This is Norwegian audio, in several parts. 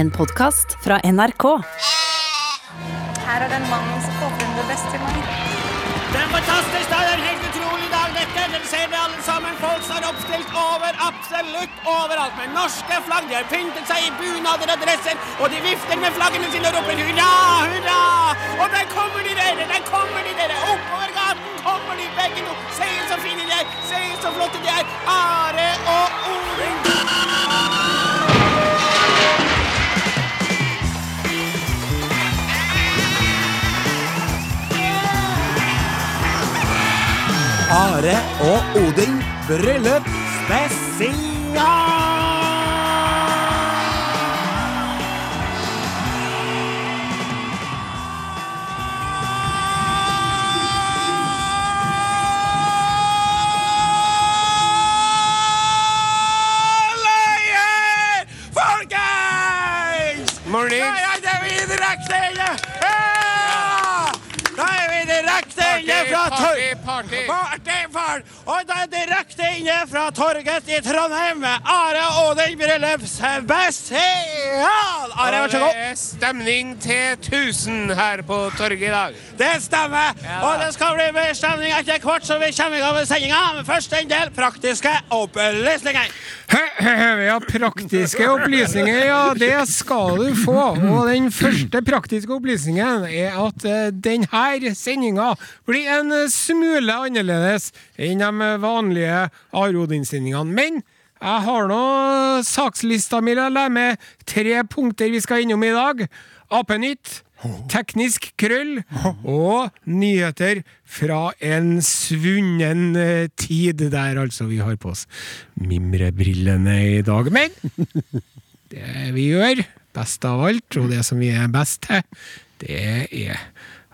En podkast fra NRK. Her er den mannen som får frem det beste i meg. Det er en fantastisk dag, det er en helt utrolig dag, dette. Dere ser det alle sammen. Folk står oppstilt over absolutt overalt med norske flagg. De har pyntet seg i bunader og dresser, og de vifter med flaggene sine og roper hurra, hurra! Og der kommer de, dere! Der kommer de, dere! Oppover gaten kommer de begge to. Se så fine de er! Se så flotte de er! Are og Oren. Are og Odin, bryllup spesial! Løye, folkens! Morning. Nei, nei, det er vi direkte inne! Ja! Da er vi direkte inne Party, fra party, Torg... party. Party, party! Og da er vi direkte inne fra torget i Trondheim med Are Odin Bryllups spesial! Are, vær så Og god. det er Eh, stemning til 1000 her på torget i dag. Det stemmer. Ja. Og det skal bli mer stemning etter hvert som vi kommer i gang med sendinga. Men først en del praktiske opplysninger. Vi har praktiske opplysninger, ja, det skal du få. Og den første praktiske opplysningen er at denne sendinga blir en smule annerledes enn de vanlige Arodin-sendingene. Men jeg har nå sakslista mi og lærer med tre punkter vi skal innom i dag. Apenytt, teknisk krøll og nyheter fra en svunnen eh, tid der altså vi har på oss mimrebrillene i dag. Men det Eh, vi gjør, best av alt, og det som vi er best til, det er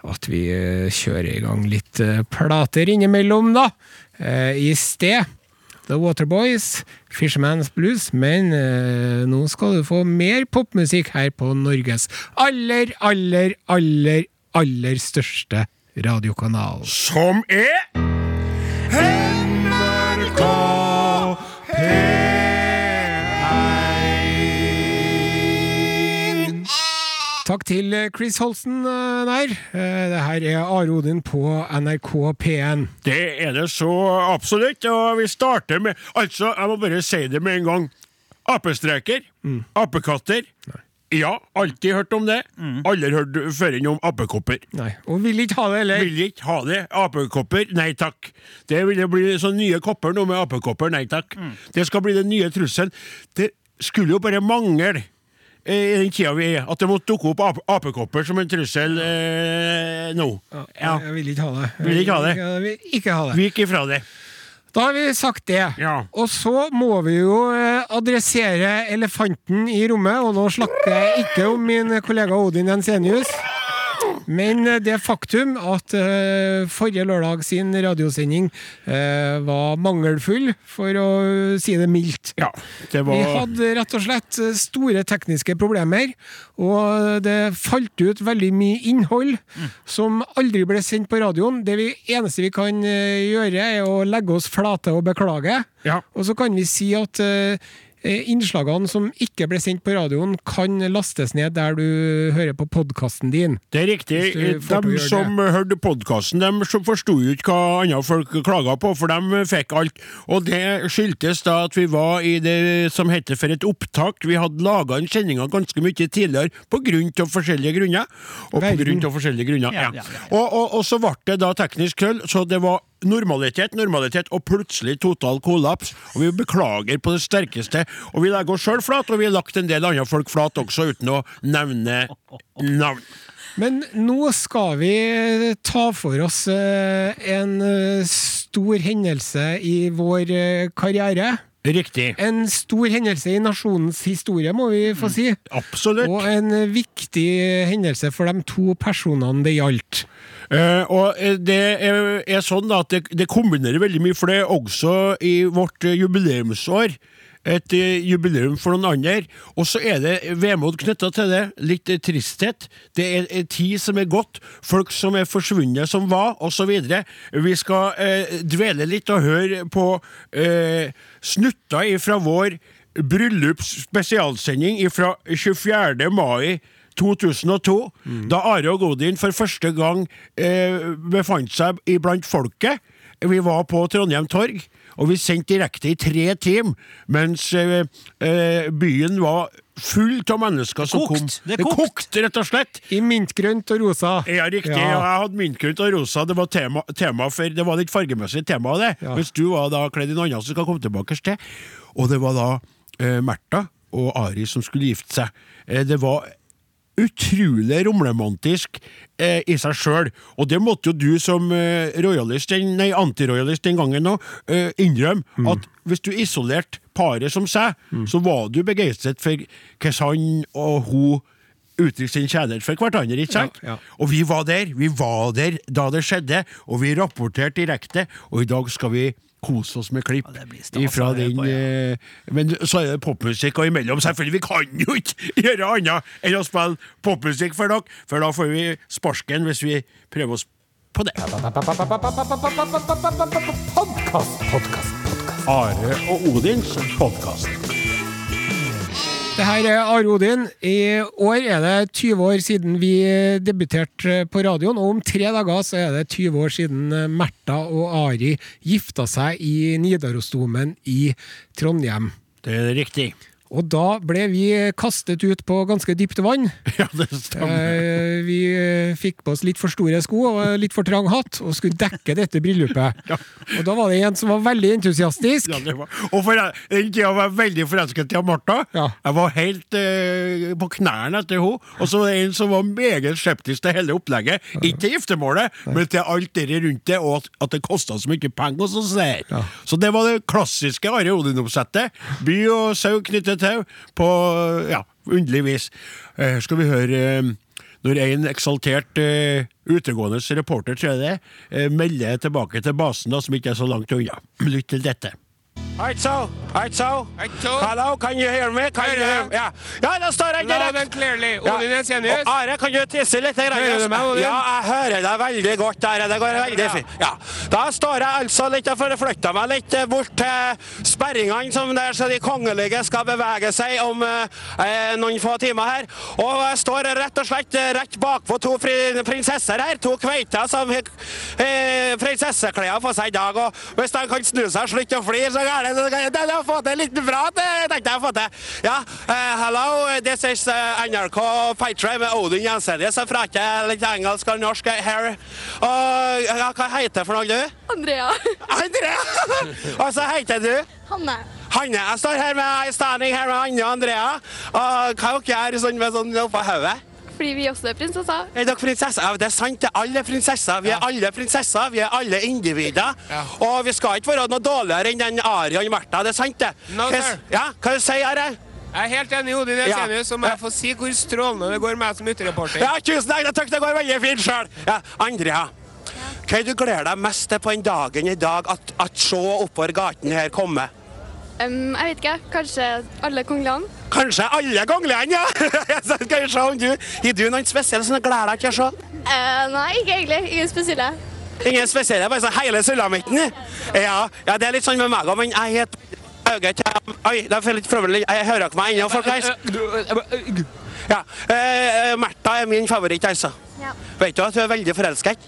at vi eh, kjører i gang litt eh, plater innimellom, da. Eh, I sted The Waterboys, Fisherman's Blues, men eh, nå skal du få mer popmusikk her på Norges aller, aller, aller, aller største radiokanal. Som er NRK P1. Takk til Chris Holsten eh, der. Eh, Det her er Are Odin på NRK P1. Det er det så absolutt. Og vi starter med Altså, jeg må bare si det med en gang. Apestreker. Apekatter. Ja, alltid hørt om det. Aldri hørt før enn om apekopper. Nei, og vil ikke ha det heller. Vil ikke ha det. Apekopper, nei takk. Det vil bli sånn nye kopper nå med apekopper, nei takk. Mm. Det skal bli den nye trusselen. Det skulle jo bare mangle eh, i den tida vi er, at det måtte dukke opp ape apekopper som en trussel eh, nå. Ja. Jeg vil ikke ha det. Vil ikke ha det. Jeg vil ikke ha det. Vik ifra det. Da har vi sagt det. Ja. Og så må vi jo eh, adressere elefanten i rommet, og nå snakker jeg ikke om min kollega Odin Jensenius. Men eh, det faktum at eh, forrige lørdag sin radiosending eh, var mangelfull, for å eh, si det mildt. Ja, det var... Vi hadde rett og slett eh, store tekniske problemer, og det falt ut veldig mye innhold som aldri ble sendt på radioen. Det vi, eneste vi kan eh, gjøre, er å legge oss flate og beklage. Ja. Og så kan vi si at eh, eh, innslagene som ikke ble sendt på radioen, kan lastes ned der du hører på podkasten din. Det er riktig. Hvis du får De gjøre som hørte podkasten, de som forsto jo ikke hva andre folk klaga på, for de fikk alt. Og det skyldtes da at vi var i det som heter for et opptak. Vi hadde laga en sendinga ganske mye tidligere på grunn av forskjellige grunner. Og på Verden. grunn av forskjellige grunner, ja. Og, og, og så ble det da teknisk krøll, så det var normalitet, normalitet, og plutselig total kollaps. Og vi beklager på det sterkeste. Og vi legger oss sjøl flat, og vi har lagt en del andre folk flat også, uten å nevne navn. Men nå skal vi ta for oss eh, en eh, stor hendelse i vår eh, karriere. Riktig. En stor hendelse i nasjonens historie, må vi få si. Absolutt. Og Og, en eh, viktig hendelse for de to personene det gjaldt. og eh, det er, er sånn da at det, det kombinerer veldig mye, for det er også i vårt eh, jubileumsår. Et eh, jubileum for noen andre. Og så er det vemod knytta til det. Litt eh, tristhet. Det er eh, tid som er gått. Folk som er forsvunnet som var, osv. Vi skal eh, dvele litt og høre på eh, snutter ifra vår bryllups spesialsending fra 24. mai 2002, da Are og Godin for første gang eh, befant seg iblant folket. Vi var på Trondheim torg, og vi sendte direkte i tre timer, mens eh, eh, byen var full av mennesker som Kokt. kom. Det er det kokt. kokte, rett og slett. I mintgrønt og rosa. Ja, riktig. Ja. Jeg hadde myntgrønt og rosa. Det var tema, tema for, det var litt fargemessig tema, det. Ja. Mens du var da kledd i noe annet som skal komme tilbake til. Og det var da eh, Märtha og Ari som skulle gifte seg. Eh, det var utrolig romlemantisk eh, i seg sjøl. Og det måtte jo du som eh, royalist, den- nei, antiroyalist den gangen nå, eh, innrømme. Mm. At hvis du isolerte paret som seg, så var du begeistret for hvordan han og hun uttrykte sin kjærlighet for hverandre. ikke sant? Ja, ja. Og vi var der. Vi var der da det skjedde, og vi rapporterte direkte. Og i dag skal vi kose oss med klipp Ja, det blir stas å ifra høre den på, ja. eh, Men så er det popmusikk, og imellom selvfølgelig, vi kan jo ikke gjøre annet enn å spille popmusikk for dere, for da får vi sparken hvis vi prøver oss på det. Are og Odins podkast. Det her er Are Odin. I år er det 20 år siden vi eh, debuterte på radioen, og om tre dager så er det 20 år siden eh, Märtha og Ari gifta seg i Nidarosdomen i Trondheim. Det er riktig. Og da ble vi kastet ut på ganske dypt vann. Ja, det stemmer. Eh, vi eh, fikk på oss litt for store sko og litt for trang hatt, og skulle dekke dette bryllupet. Og da var det en som var veldig entusiastisk. Ja, det var. Og for den tida var jeg veldig forelsket i Martha. Ja. Jeg var helt eh, på knærne etter henne. Og så var det en som var meget skeptisk til hele opplegget. Ikke til giftermålet, men til alt det rundt det, og at, at det kosta så mye penger. og sånn der. Så det var det klassiske Are Odin-oppsettet. By og sau knyttet tau på ja, underlig vis. Eh, skal vi høre eh, når en eksaltert eh, utegående reporter tror jeg det, eh, melder tilbake til basen, da, som ikke er så langt unna. Lytt til dette. Right, so. Right, so. so. Hello, can you hear me? Can you hear me? Ja. ja, da står jeg Loud direkt. and clearly. Ja. Odin Jensenius. Og Are, kan du tisse litt? Grann? Hører du meg, Odin? Ja, jeg hører deg veldig godt. Are. Det går veldig fint. Ja. Da står jeg altså litt og forflytter meg litt eh, bort til sperringene som der så de kongelige skal bevege seg om eh, noen få timer her. Og jeg står rett og slett eh, rett bakpå to fri prinsesser her. To kveiter som har eh, prinsesseklær på seg i dag. Og hvis de kan snu seg og slutte å flire, så er det så kan jeg- Det har fått til en liten prat, eh, tenkte jeg å få til. Ja, eh, hello, this is eh, NRK Petra med Odin Jensenius. Jeg prater litt engelsk og norsk her. Og ja, hva heter det for noe, du? Andrea. Andrea! og så heter du? Hanne. Hanne. Jeg står her med, jeg er standing her med Hanne og Andrea. Og hva dere gjør dere sånn med sånn oppå hodet? Fordi vi også er prinsessa. Er dere prinsesser? Ja, Det er sant, det er alle prinsesser. Vi er alle prinsesser, vi er alle individer. Og vi skal ikke være noe dårligere enn den Ari og Märtha, det er sant det? No, Hva- sir. Ja, hva du sier du? Jeg er helt enig i Odin Jensenius, Ja. og må jeg få si hvor strålende det går med meg som utereporter. Ja, tusen takk, det takk, det går veldig fint sjøl. Ja, Andrea. Hva er det du gleder deg mest til på den dagen i dag at, at se oppover gaten her kommer? Um, jeg vet ikke, kanskje alle kongelige? Kanskje alle kongelige, ja! Så skal vi se om du Gir du noen spesielle som du gleder deg til å se? Eh, nei, ikke egentlig. Ingen spesielle. Ingen spesielle, bare så hele sulamitten. Ja, ja, det er litt sånn med meg òg, men jeg heter Øyet til Oi, da får jeg litt trøbbel. Jeg hører dere meg ennå, folkens? Ja. Eh, Märtha er min favoritt, altså. Ja. Vet du at hun er veldig forelsket?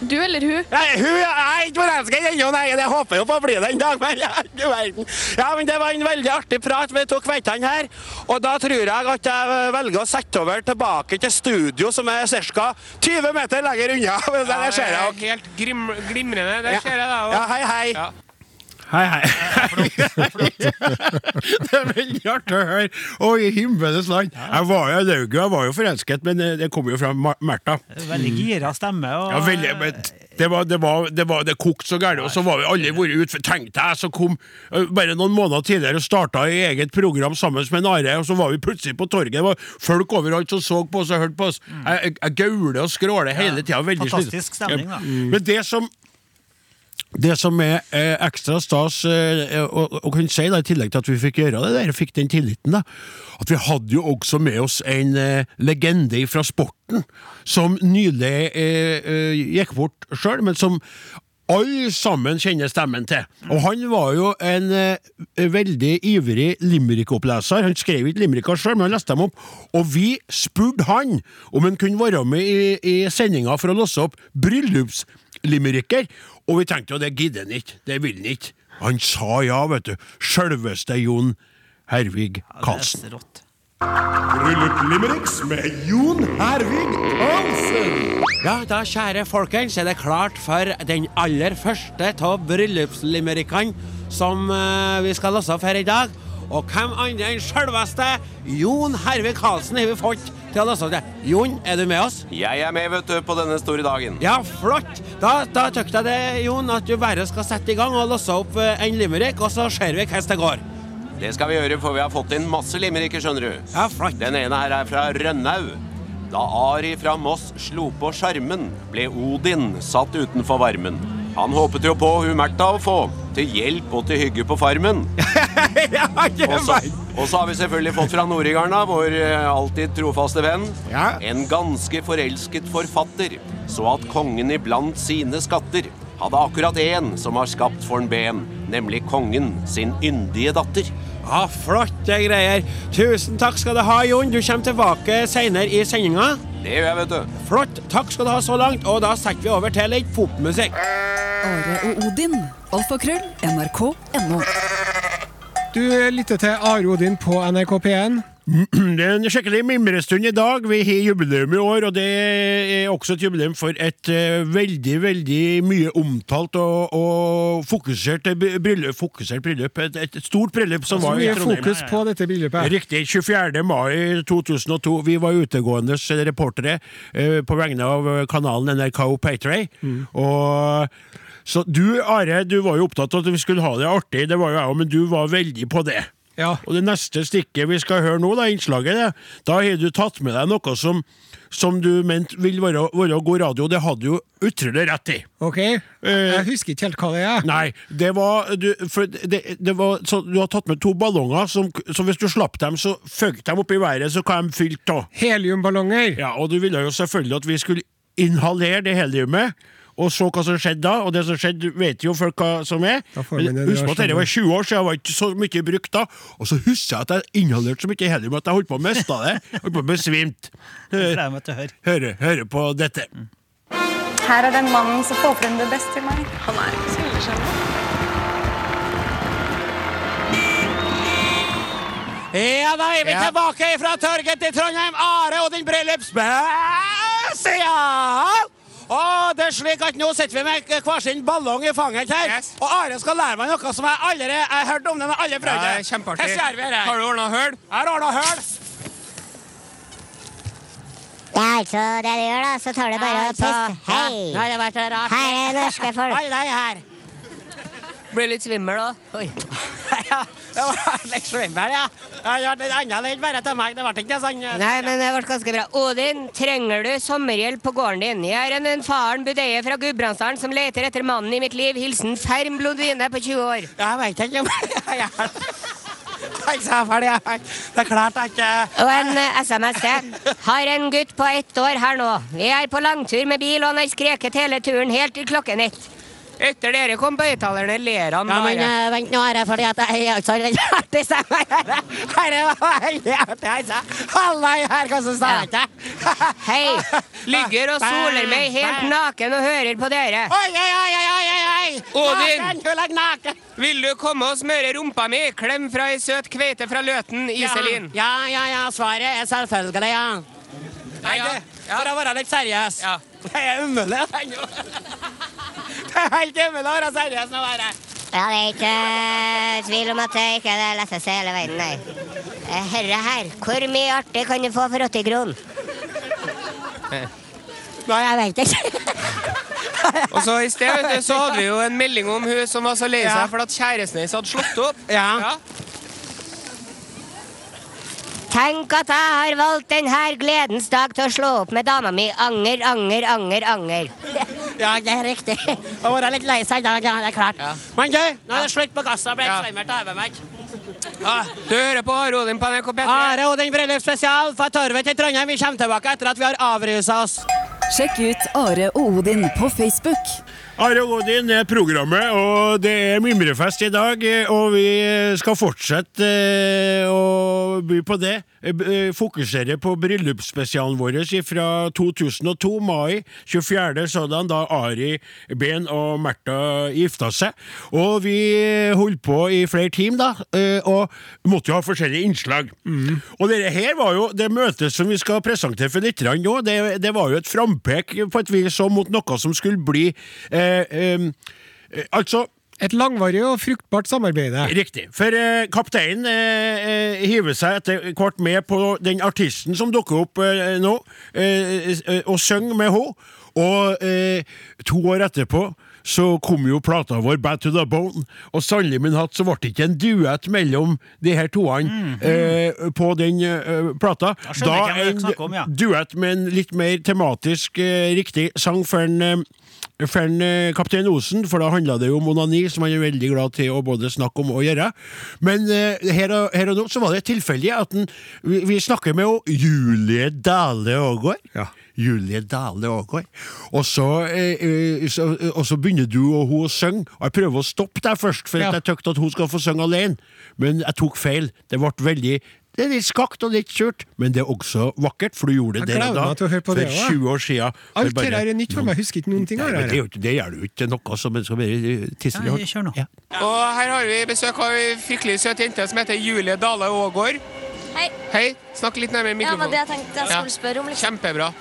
Du eller hun? Nei, hun jeg er ikke forelsket ennå, nei. Jeg håper jo på å bli det en dag, men ja, du verden. Ja, men det var en veldig artig prat med de to kveitene her. Og da tror jeg at jeg velger å sette over tilbake til studio, som er ca. 20 meter lenger unna. Men der ser jeg Eh, dere. Helt grim glimrende. Der ser jeg deg òg. Ja, hei, hei. Ja. Hei, hei. det er veldig artig å høre. Oi, himmelens land. Jeg var jo lauget, jeg var jo forelsket, men eh, det kom jo fra Ma- Märtha. Veldig gira stemme. Og, Ja, veldig, men det var, det, var, det, var, det kokte så gærent, og så var vi alle vært ute. Tenkte jeg, så kom eh, bare noen måneder tidligere og starta i eget program sammen med Nare, og så var vi plutselig på torget. Det var folk overalt som så på oss og hørte på oss. Jeg, jeg, jeg gauler og skråler hele tida. Veldig fantastisk slitsomt. stemning, da. Men det som det som er eh, ekstra stas eh, å, å kunne si, da, i tillegg til at vi fikk gjøre det der, fikk den tilliten, da, at vi hadde jo også med oss en eh, legende fra sporten, som nylig eh, eh, gikk bort sjøl, men som alle sammen kjenner stemmen til. Og han var jo en eh, veldig ivrig limerick-oppleser. Han skrev ikke limericker sjøl, men han leste dem opp. Og vi spurte han om han kunne være med i, i sendinga for å låse opp bryllupslimericker. Og vi tenkte jo det gidder han ikke, det vil han ikke. Han sa ja, vet du. Sjølveste Jon Hervig Karlsen. Det er rått. Bryllup Limericks med Jon Hervig Karlsen. Ja, da, kjære folkens, er det klart for den aller første av bryllupslimerikkene som eh, vi skal låse opp her i dag. Og hvem andre enn sjølveste Jon Herve Karlsen har vi fått til å låse opp det. Jon, er du med oss? Jeg er med, vet du, på denne store dagen. Ja, flott! Da, da tøkte jeg det, Jon, at du bare skal sette i gang og låse opp eh, en limerick, og så ser vi hvordan det går. Det skal vi gjøre, for vi har fått inn masse limericker, skjønner du. Ja, flott. Den ene her er fra Rønnau. Da Ari fra Moss slo på skjermen, ble Odin satt utenfor varmen. Han håpet jo på hun Märtha å få, til hjelp og til hygge på farmen. ja, jeg Og så, vet. og så har vi selvfølgelig fått fra Nord-Igarna, vår eh, alltid trofaste venn. Ja. En ganske forelsket forfatter så at kongen iblant sine skatter hadde akkurat én som har skapt for en ben, nemlig kongen sin yndige datter. Ja, flotte greier. Tusen takk skal du ha, Jon. Du kommer tilbake senere i sendinga. Det gjør jeg, vet du. Flott. Takk skal du ha så langt. Og da setter vi over til litt popmusikk. Are og Odin. Alfakrøll. NRK.no. Du eh, lytter til Are Odin på NRK P1. Det er en skikkelig mimrestund i dag. Vi har jubileum i år, og det er også et jubileum for et eh, veldig, veldig mye omtalt og, og fokusert bry- bryllup. Fokusert bryllup et, et stort bryllup som Så var i Altså mye Trondheim. fokus på dette bryllupet. Riktig. 24. mai 2002. Vi var utegående reportere eh, på vegne av kanalen NRK Patray. Og så du, Are, du var jo opptatt av at vi skulle ha det artig. Det var jo jeg òg, men du var veldig på det. Ja. Og det neste stikket vi skal høre nå, da, innslaget, det, da har du tatt med deg noe som, som du mente vil være, være god radio. Det hadde du jo utrolig rett i. OK? Jeg husker ikke helt hva det er. Nei, det var Du, for det, det var, så du har tatt med to ballonger, som, så hvis du slapp dem, så føk dem opp i været, så hva de fylte av. Heliumballonger. Ja, og du ville jo selvfølgelig at vi skulle inhalere det heliumet. Og så hva som skjedde da, og det som skjedde, vet jo folk hva som er. Da får vi Men den Husk på at sånn. dette var 20 reaksjonen. år siden, jeg var ikke så mye brukt da. Og så husker jeg at jeg inhalerte så mye helium at jeg holdt på å miste det. Holdt på å besvimt. Gleder jeg meg til å høre. Høre, høre på dette. Her er den mannen som får frem det beste i meg. Han er ikke kjellersjalu. Ja, da er vi Ja. tilbake fra torget til Trondheim. Are og din bryllupsspesial! Og det er slik at Nå sitter vi med hver sin ballong i fanget her. Yes. Og Are skal lære meg noe som jeg aldri jeg har hørt om. den har aldri prøvd. Ja, det er kjempeartig. Hvordan gjør vi det? Har du ordna høl? Jeg har ordna høl. Ja, altså, det du gjør, da, så tar du bare og puster. Hei! Nå har det vært så rart. Her er norske folk. Alle de her. Blir litt svimmel, da. Oi. Ja, det var litt svimmel, ja. Det ble en annen lyd bare til meg. Det ble ikke sånn. eh, Nei, men det ble ganske bra. Odin, trenger du sommerhjelp på gården din? Jeg er en, en faren budeie fra Gudbrandsdalen som leter etter mannen i mitt liv. Hilsen ferm blondine på 20 år. Jeg veit ikke om jeg er Jeg sa ferdig, jeg. Det er klart at eh, Og en eh, SMS til. Har en gutt på ett år her nå. Vi er på langtur med bil, og han har skreket hele turen helt til klokken ett. Etter dere kom på høyttalerne, ler han bare. Ja, men eh, vent nå, her, fordi at jeg også har litt artig stemme. Herre, hva er det jeg altså. sa? Halla, jeg er kanskje snart ikke. Hei. Ligger og soler meg helt naken og hører på dere. Oi, oi, oi, oi, oi, oi, oi! Odin! Naken, du ligger naken! Vil du komme og smøre rumpa mi? Klem fra ei søt kveite fra Løten, Iselin. Ja, ja, ja, svaret er selvfølgelig ja. Nei, ja. det, for å være litt seriøs. Ja. Det er umulig, det er jo. Det er helt umulig å være seriøs nå, bare. Ja, det er ikke eh, tvil om at det ikke er det letteste i hele verden, nei. Eh, Herre her, hvor mye artig kan du få for 80 kroner? Nei, jeg vet ikke. Og så I sted vet du, så hadde vi jo en melding om hun som var så lei seg Ja. for at kjæresten hennes hadde slått opp. Ja. Tenk at jeg har valgt denne gledens dag til å slå opp med dama mi. Anger, anger, anger, anger. Ja, det er riktig. Å være litt lei seg, da, ja, det er klart. Men du, nå er det slutt på gassa. Jeg ble Ja. svimmel av hodet mitt. Du hører på Are Odin på NRK P3. Are og den bryllupsspesial fra Torvet til Trondheim. Vi kommer tilbake etter at vi har avrusa oss. Sjekk ut Are og Odin på Facebook. Are og Odin er programmet, og det er mimrefest i dag. eh, Og vi skal fortsette eh, å by på det. Eh, b- eh, Fokusere på bryllupsspesialen vår fra 2002, mai 24. sådan, da Ari Behn og Märtha gifta seg. Og vi holdt på i flere timer, da, eh, og måtte jo ha forskjellige innslag. Og dette her var jo det møtet som vi skal presentere for litt nå, det, det var jo et frampek på et vis om mot noe som skulle bli eh, em, eh, Altså Et langvarig og fruktbart samarbeid. Riktig. For eh, kapteinen eh, eh, hiver seg etter hvert med på den artisten som dukker opp eh, nå, eh, eh, og synger med henne. Og eh, to år etterpå så kom jo plata vår Bad to the Bone, og sannelig min hatt så ble det ikke en duett mellom de her toene eh, på den eh, plata. Mhm. Da skjønner jeg hvem dere en snakker om, ja. duett med en litt mer tematisk eh, riktig sang for en eh, for en eh, Kaptein Osen, for da handla det jo om onani, som han er veldig glad til å både snakke om og gjøre. Men eh, her, og, her og nå så var det tilfeldig at den, vi, vi snakker med jo Julie Dale Aagaard. Julie Dale Aagaard. Og så, eh, eh, så, og så begynner du og hun å synge, og jeg prøver å stoppe deg først, for Ja. at jeg tykte at hun skal få synge alene, men jeg tok feil. Det ble veldig det er litt skakt og litt surt, men det er også vakkert, for du gjorde det Jeg der gleder og da. meg til å høre på for det også, jeg. 20 år siden. for Alt bare dette er nytt for meg. Jeg husker ikke noen ting. Nei, av men det det, er her. jo ikke- det gjør du ikke noe som en skal bare tisse i Nei, hånden. Ja. Og her har vi besøk av ei fryktelig søt jente som heter Julie Dale Aagaard. Hei. Hei. Snakk litt nærmere Ja, det var mikrofonen. det jeg tenkte jeg skulle spørre om. Liksom. Kjempebra.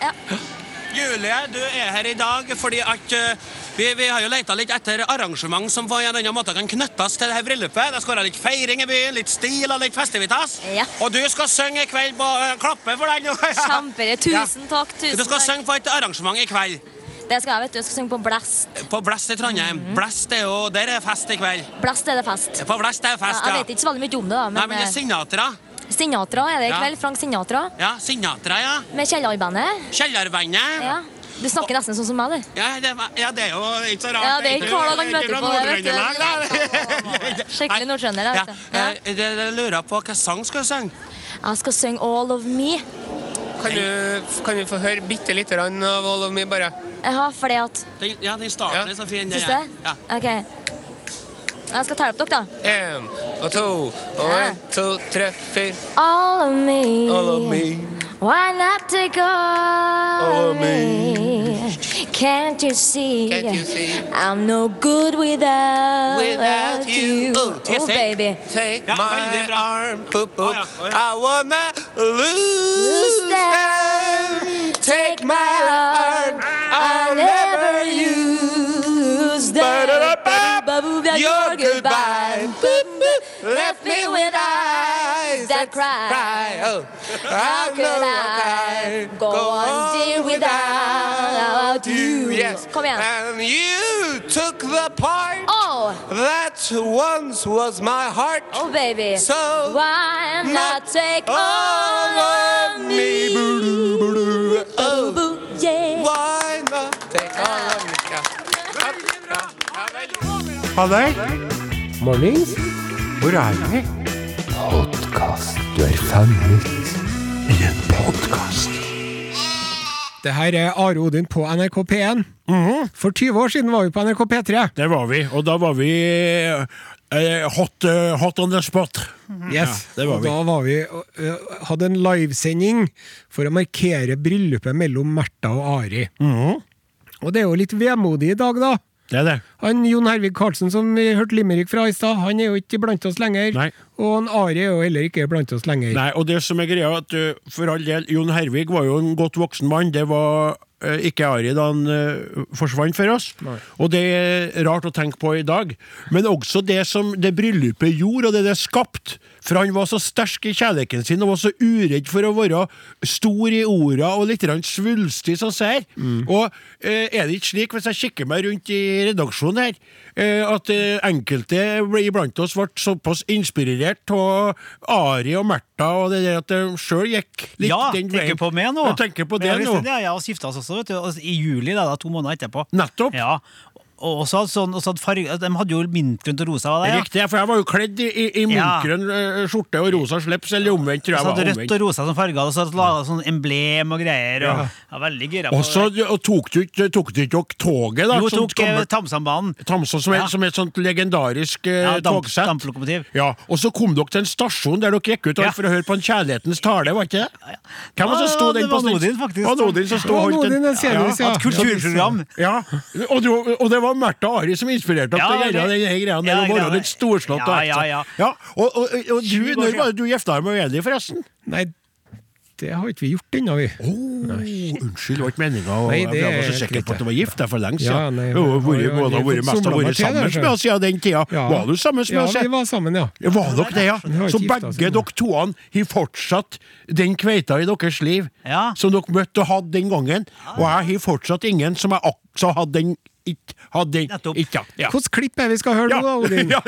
Julie, du er her i dag fordi at eh, vi, vi har jo leita litt etter arrangement som på en eller annen måte kan knyttes til det her bryllupet. Det skal være litt feiring i byen, litt stil og litt festivitas. Og du skal synge i kveld på uh, Klappe for den. Kjempebra. Tusen takk. Du tusen skal takk. synge på et arrangement i kveld. Det skal jeg, vet du. Jeg skal synge på Blast. På Blest i Trondheim. Blest er jo Der er fest i kveld. Blast er det fest. På Blest er det fest, Ja, ja. jeg vet ikke så veldig mye om det, da. Men, Nei, men det er Sinatra. eh, Sinatra er det i Ja. kveld. Frank Sinatra. Ja, Sinatra, ja. Med Kjellarbandet. Kjellerbandet. Ja. Du snakker nesten sånn som meg, du. Ja, det, var- ja, det er jo ikke så rart. Ja, det er ikke hver dag han Ikke møter fra på det, vet du. Nord-Trøndelag, da. Skikkelig nordtrønder. jeg, Ja, vet du. eh, det- Jeg lurer på hva sang skal du synge? Jeg skal synge All of me. Kan, du, kan vi få høre bitte lite grann av All of Me, bare? Ja, fordi at Den, ja, den starten er så fin. Syns du det? OK. Jeg skal ta opp dere, da. Én og to og én, to, tre, fire. All of me. All of me. Why not take all of me? Can't you see? Can't you see? I'm no good without, Without you. Oh, yes, eh? baby. Take my arm, poop, poop. I wanna Oh, Lose lose that. Take my arm. I'll never use that. Your goodbye. Left me with eyes that cry. Oh, How could I go on dear without you? Yes. Kom igjen. And you took the part Oh. that once was my heart. Oh, baby. So why not take all of me? Oh, boo, yeah. Why not take all of me? Ja. Halløy! Mornings. Hvor er vi? Podkast. Du er fanget i en podkast. Det her er Are Odin på NRK P1. Mhm. For 20 år siden var vi på NRK P3. Der var vi, og da var vi eh, hot, eh, hot on the spot. Yes. Ja, det var og vi. da var vi og, ø, hadde en livesending for å markere bryllupet mellom Märtha og Ari. Mhm. Og det er jo litt vemodig i dag, da. Det er det. Han Jon Hervik Karlsen som vi hørte limerick fra i stad, han er jo ikke blant oss lenger. Og han Ari er jo heller ikke blant oss lenger. Nei, og det som er greia er at ø, for all del, Jon Hervig var jo en godt voksen mann. Det var ø, ikke Ari da han ø, forsvant for oss. Og det er rart å tenke på i dag. Men også det som det bryllupet gjorde, og det det skapte. For han var så sterk i kjærligheten sin og var så uredd for å være stor i orda og litt grann svulstig som sær. Og ø, er det ikke slik, hvis jeg kikker meg rundt i redaksjonen her, ø, at ø, enkelte iblant oss ble såpass inspirert av Ari og Märtha og det der at de sjøl gikk litt ja, den tenker veien. på meg nå. Jeg tenker på Men det jeg visste nå. Altså, Det, ja, og gifta oss også, vet du. og I juli, da, da, to måneder etterpå. Nettopp. Ja. Og så hadde sånn, og så hadde farge, de hadde jo mintgrønt og rosa. Var det, ja. Riktig, for jeg var jo kledd i, Ja. i mintgrønn eh, skjorte og rosa slips, eller omvendt, tror Så jeg hadde var rødt omvendt. og rosa som farger, og så hadde laga sånn emblem og greier. Og, Ja. ja, veldig gira på Og så og tok du ikke tok du ikke toget, da? Jo, som tok eh, kommer- Tamsambanen. Tamsås, som, er- Ja. som er et sånt legendarisk eh, Ja, damp- togsett. damplokomotiv. Ja, Og så kom dere til en stasjon der dere gikk ut Ja. for å høre på en kjærlighetens tale, var ikke det? Hvem var det som sto Ja, det den på var snitt? Nodin, faktisk. Var Nodin som sto Det var og holdt Nodin, en kjendis, ja. Et kulturprogram. Ja, og, du, og det var Märtha Ari som inspirerte deg Ja, til å gjøre det- denne greia ja, der og være greiene. litt storslått. og Ja, alt ja, sånt. ja. ja. Og, og, og, og du, Sju år når siden. var det du gifta deg med Eli, forresten? Nei, det har ikke vi gjort ennå, vi. Nei. Unnskyld, det var ikke meninga. Nei, Jeg det var er så sikker helt på at du var gift der for lenge Ja, siden. nei, Det har vært- jeg har må da jo ha vært mest somla har meg vært til sammen det, så. med oss siden den tida. Ja. Var du sammen med oss? Ja, vi var sammen, ja. Ja, Var altså. dere det, ja? har Så ikke gifta oss begge dere toene har fortsatt den kveita i deres liv som dere møtte og hadde den gangen. Og jeg har fortsatt ingen som jeg også hadde den ikke hadde den ikke. Ja. Hvilket klipp er det vi skal høre nå, da, Odin? Ja.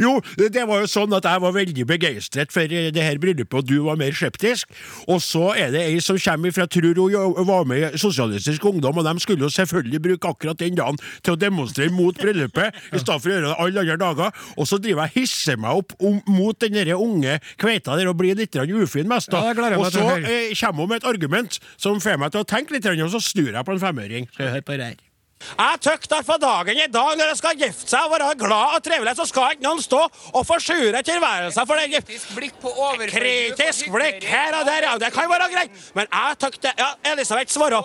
jo, det var jo sånn at jeg var veldig begeistret for eh, det her bryllupet, og du var mer skeptisk. Og så er det ei som kommer fra Tror hun jo- var med i Sosialistisk Ungdom, og de skulle jo selvfølgelig bruke akkurat den dagen til å demonstrere mot bryllupet, i stedet for å gjøre det alle andre dager. Og så driver jeg og hisser meg opp om, mot den der unge kveita der og blir litt grann ufin mest, da. Ja, det gleder jeg og meg til så å høre. eh, kommer hun med et argument som får meg til å tenke litt, grann, og så snur jeg på en femøring. Skal vi høre på det her? Jeg tøkter for dagen i dag når jeg skal gifte seg og være glad og trivelig, så skal ikke noen stå og forsure tilværelsen for det. Kritisk blikk på overfløyet. Kritisk blikk her og der, ja. Det kan være greit. Men jeg tøkter Ja, Elisabeth svarer.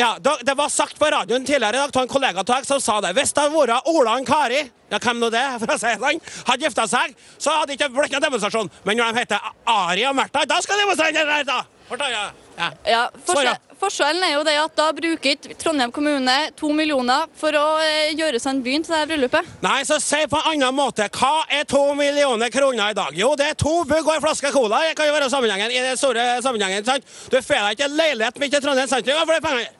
Ja, da, det var sagt på radioen tidligere i dag av en kollega av deg som sa det. Hvis det hadde vært Ola og Kari ja, hvem nå det, for å si det sånn, hadde gifta seg, så sånn. hadde det ikke blitt noen demonstrasjon. Men når de heter Ari og Märtha, da skal demonstrasjonen være der! Forstår jeg? Ja. Ja, forskjell, Svar, forskjellen er jo det at da bruker ikke Trondheim kommune to millioner for å eh, gjøre seg en byen til det her bryllupet. Nei, så si på en annen måte. Hva er to millioner kroner i dag? Jo, det er to bugg og en flaske cola. Det kan jo være sammenhengen i den store sammenhengen. sant? Du får deg ikke en leilighet midt i Trondheim sentrum for de pengene.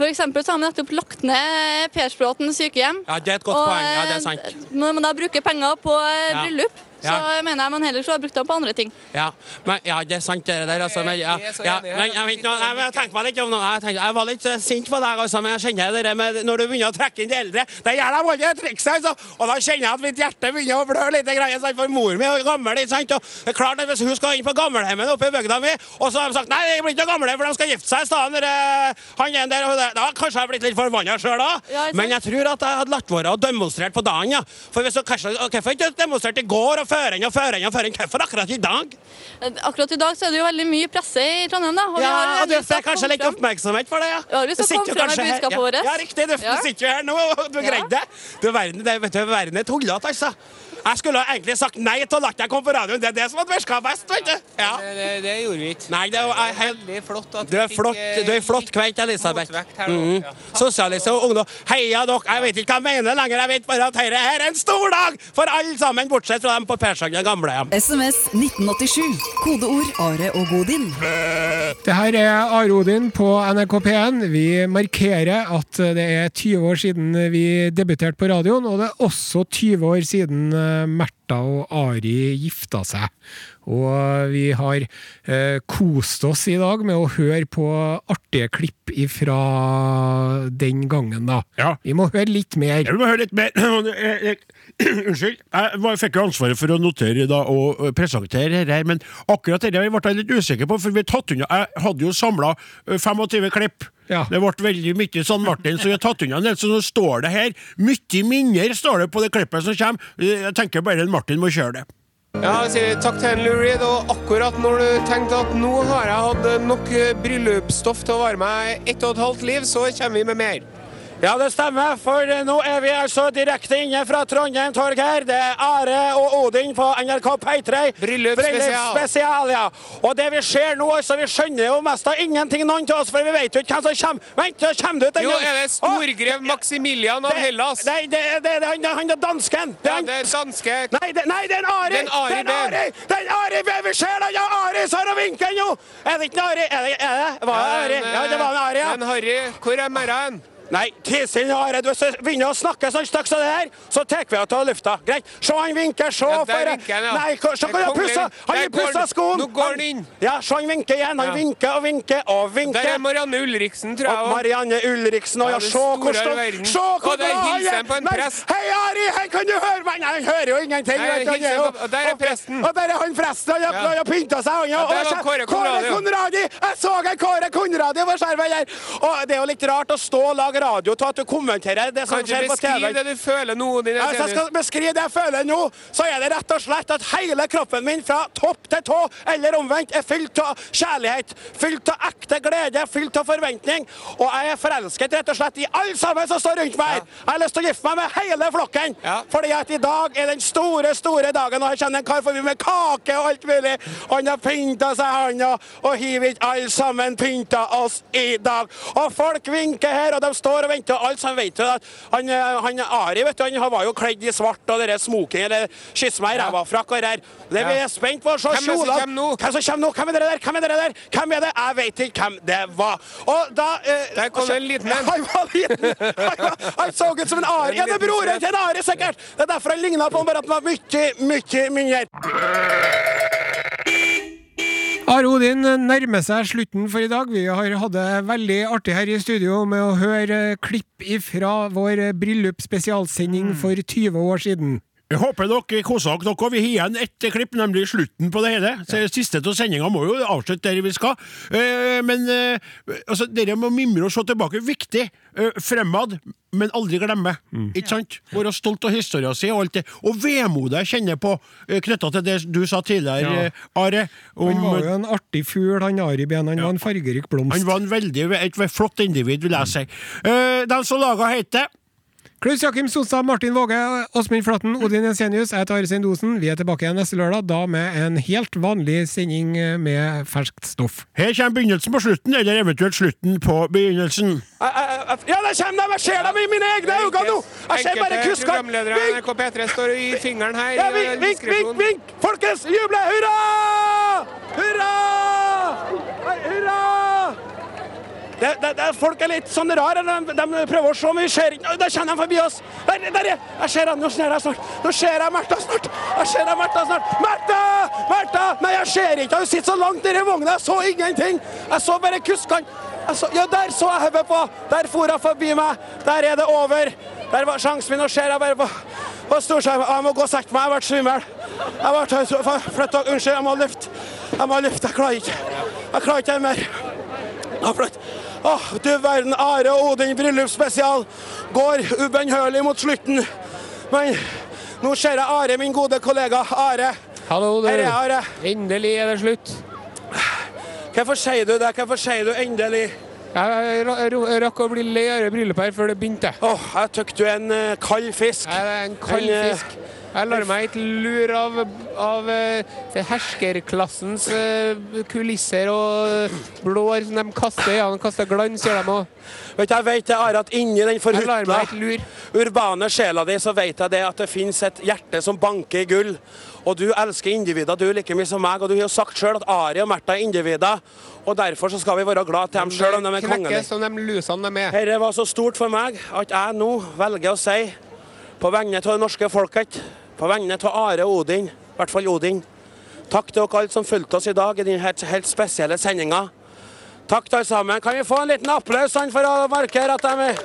For eksempel så har man nettopp lagt ned Persbråten sykehjem. Ja, det er et godt Og, poeng. Ja, det er eh, sant. Når man da bruker penger på eh, Ja. bryllup, så Ja. mener jeg man heller skulle ha brukt dem på andre ting. Ja, men, ja, det er sant det der, altså. Men, ja, ja, men jeg, vet, nå, jeg, jeg tenkte meg litt om noe. Jeg, tenkte, jeg var litt eh, sint på deg, altså, men jeg kjenner det der med når du begynner å trekke inn de eldre. Det gjør de alle trikset, altså. Og da kjenner jeg at mitt hjerte begynner å blø litt. Grann, sant? For mor mi er jo gammel, ikke sant? Og det er klart at hvis hun skal inn på gammelhjemmet oppe i bygda mi, og så har de sagt nei, det blir ikke noe gamle, for de skal gifte seg i stedet. når, eh, Han er der og hun der. Da kanskje jeg har blitt litt forbanna sjøl da. Ja, ikke sant? Men jeg tror at jeg hadde latt være å demonstrere på dagen, ja. For hvis du kanskje Hvorfor ikke demonstrert i går og før enn og før enn og før enn? Hvorfor akkurat i dag? Eh, Akkurat i dag så er det jo veldig mye presse i Trondheim, da. og vi Ja, har jo og du lyst til får å kanskje komme litt frem. oppmerksomhet for det, ja. Ja, hvis Du det kom sitter jo frem med kanskje her- budskapet ja. vårt. Ja, riktig. Du, Ja. du sitter jo her nå, og du Ja. greide det. Du verden, det, vet du, verden er tullete, altså. Jeg skulle ha egentlig sagt nei til å la deg komme på radioen. Det er det som hadde virka best, vet du. Ja. Det, det gjorde vi ikke. Nei, det er, jeg, helt- Veldig flott eh, at du er flott, du er flott kveik, Elisabeth. motvekt her nå, Mhm. Sosialist og ungdom. Heia dere! Jeg vet ikke hva jeg mener lenger. Jeg vet bare at dette her er en stor dag for alle sammen, bortsett fra dem på Pershagen gamlehjem. SMS 1987. Kodeord Are og Godin. Det her er Are Odin på NRK P1. Vi markerer at det er 20 år siden vi debuterte på radioen, og det er også 20 år siden eh, Märtha og Ari gifta seg. Og vi har eh, kost oss i dag med å høre på artige klipp ifra den gangen, da. Vi må høre litt mer. Vi må høre litt mer. Jeg- jeg- Unnskyld. Jeg var- fikk jo ansvaret for å notere da, og eh, presentere dette, her, men akkurat dette ble jeg litt usikker på, for vi har tatt unna Jeg hadde jo samla 25 klipp. Det ble veldig mye sånn Martin, så vi har tatt unna en del. Så nå står det her mye mindre står det på det klippet som kommer. Eh, Jeg tenker bare Martin må kjøre det. Ja, jeg sier takk til Lou Reed, og akkurat når du tenkte at nå har jeg hatt nok eh, bryllupsstoff til å vare meg ett og et halvt liv, så kommer vi med mer. Ja, det stemmer, for nå er vi altså direkte inne fra Trondheim torg her. Det er Are og Odin på NRK P3. Bryllupsspesial. Bryllupsspesial, ja. Og det vi ser nå, altså, vi skjønner jo mest av ingenting, noen av oss, for vi vet jo ikke hvem som kommer. Vent, nå kommer du ut Jo, er det storgrev Maximilian av Hellas? Nei, det, det, det, er han- det er han er dansken. Det er han- danske Nei, det, nei, det er en Ari! Det er en Ari Det er en Ben. Ari! Det er en Ari Ben! Vi ser den! Ja, Ari står og vinker nå! Er det ikke en Ari? Er det, er det? Var det Ari? Ja, det var en Ari, ja. Men Harry, hvor er merra hen? Nei, Kristin har jeg. Hvis du begynner å snakke sånn støkk som det her, så tar vi henne av lufta. Greit. Se, han vinker. Se, Ja, der for- vinker han, ja. Nei, ko- se Der hvor han kommer pusser. han. Han Der har går pussa han. skoen. Nå går han inn. Ja, se, han vinker igjen. Han Ja. vinker og vinker og vinker. Der er Marianne Ulriksen, tror jeg. Og også. Marianne Ulriksen. Og Ja, ja, det se store hvor av stolt verden. Se hvor Og der glad han hilser er. han på en Nei, prest. Hei, Ari, her kan du høre meg! Nei, han hører jo ingenting. Nei, vet du, han hilser er jo- han på- og der er presten. Og der er han presten. Han har- Ja. Han har pynta seg. Han, Ja, der og- var Kåre Conradi, jo. Konradi! Jeg så en Kåre Konradi over skjermen her! Og det er jo litt rart å stå og lage radio til at du kommenterer det som Kan du skjer på TV. beskrive det du føler nå? Odin Ja, Hvis jeg skal Jensenius? beskrive det jeg føler nå, så er det rett og slett at hele kroppen min fra topp til tå, eller omvendt, er fylt av kjærlighet. Fylt av ekte glede, fylt av forventning. Og jeg er forelsket rett og slett i alle sammen som står rundt meg. her. Jeg har lyst til å gifte meg med hele flokken. Fordi at i dag er den store, store dagen, og jeg kjenner en kar forbi med kake og alt mulig. Og han har pynta seg, han, og, og hiv ikke alle sammen pynta oss i dag. Og folk vinker her, og de står og venter, og alle sammen vet jo at han, eh, han Ari, vet du, han var jo kledd i svart og dere smoking, eller kyss meg i ræva-frakk og det der. Det vi Ja. er spent på å se Hvem er det som kjolene. kommer nå? Hvem som kommer nå? Hvem er dere der? Hvem er dere der? Hvem er det? Jeg vet ikke hvem det var. Og da eh, Der kom det en liten en. Han var liten. Han, var, han så ut som en Ari. Ja, det er broren til en Ari, sikkert. Det er derfor han ligna på han, bare at han var mye, mye mindre. Are Odin nærmer seg slutten for i dag. Vi har hatt det veldig artig her i studio med å høre eh, klipp ifra vår eh, Mm. bryllupsspesialsending for 20 år siden. Jeg håper dere koser dere. dere. Vi har igjen ett klipp, nemlig slutten på det hele. Så Siste av sendinga må jo avslutte der vi skal. Eh, Men eh, altså, dere må mimre og se tilbake. Viktig. Eh, Fremad, men aldri glemme. Mm. Ikke sant? Være stolt av historia si og alt det. Og vemodet jeg kjenner på knytta til det du sa tidligere, Ja. eh, Are. Han var jo en artig fugl, han Ari Behn. Han var en fargerik blomst. Han var en veldig, et flott individ, vil jeg si. Eh, Den som laga heter Klaus Jakim Sonstad, Martin Våge, Åsmund Flatten, Odin Jensenius, jeg heter Are Sein Osen. Vi er tilbake igjen neste lørdag, da med en helt vanlig sending eh, med ferskt stoff. Her kommer begynnelsen på slutten, eller eventuelt slutten på begynnelsen. Jeg- jeg- jeg- eh, Ja, der kommer de! Jeg ser dem i mine egne øyne nå! Jeg ser bare Enkelte kuskene. programledere i NRK P3 står og gir fingeren her. Ja, i vink, den vink, vink, diskresjonen. vink! Folkens, juble! Hurra! Hurra! Nei, Hurra! Det, det, det, folk er litt sånn rare. De, de prøver å se, men vi ser ikke Oi, Der kjenner de forbi oss! Der, der er Jeg ser han, Nå ser jeg snart! Nå ser jeg Märtha snart! Jeg ser jeg Märtha snart! Märtha! Märtha! Nei, jeg ser ikke! Hun sitter så langt nede i vogna. Jeg så ingenting! Jeg så bare kuskene. Jeg så, ja, der så jeg hodet på! Der for hun forbi meg! Der er det over! Der var sjansen min, nå ser jeg bare på på storskjerm. Jeg må gå og sette meg. Jeg ble svimmel. Jeg ble tøys- for- flytt dere. Unnskyld, jeg må lufte. Jeg må lufte. Jeg klarer ikke. Jeg klarer ikke mer. Jeg flytt. Åh, Ah, du verden. Are og Odin bryllupsspesial går ubønnhørlig mot slutten. Men nå ser jeg Are, min gode kollega. Are. Hallo, du. Her er jeg, Are. Endelig er det slutt. Hvorfor sier du det? Hvorfor sier du endelig? Jeg ra- ra- rakk å bli lei av det bryllupet her før det begynte. Åh, jeg tykk du er en eh, kald fisk. Jeg er en kald En, eh, fisk. Jeg lar meg ikke lure av, av eh, det herskerklassens eh, kulisser og blår som de kaster. Ja, de kaster glans, gjør de òg. Vet du, jeg vet det, Are, at inni den Jeg lar meg ikke forhutla, urbane sjela di, så vet jeg det at det finnes et hjerte som banker i gull. Og du elsker individer, du like mye som meg. Og du har jo sagt sjøl at Ari og Märtha er individer. Og derfor så skal vi være glad til dem sjøl om de er Knekker kongelige. som de lusene de er. Dette var så stort for meg at jeg nå velger å si, på vegne av det norske folket, på vegne av Are og Odin, i hvert fall Odin, takk til dere alle som fulgte oss i dag i denne helt- helt spesielle sendinga. Takk til alle sammen. Kan vi få en liten applaus sånn, for å markere at de er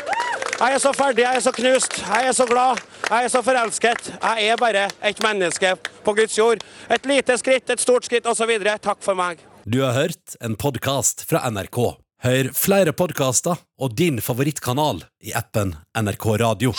Jeg er så ferdig, jeg er så knust, jeg er så glad, jeg er så forelsket. Jeg er bare et menneske på Guds jord. Et lite skritt, et stort skritt osv. Takk for meg. Du har hørt en podkast fra NRK. Hør flere podkaster og din favorittkanal i appen NRK Radio.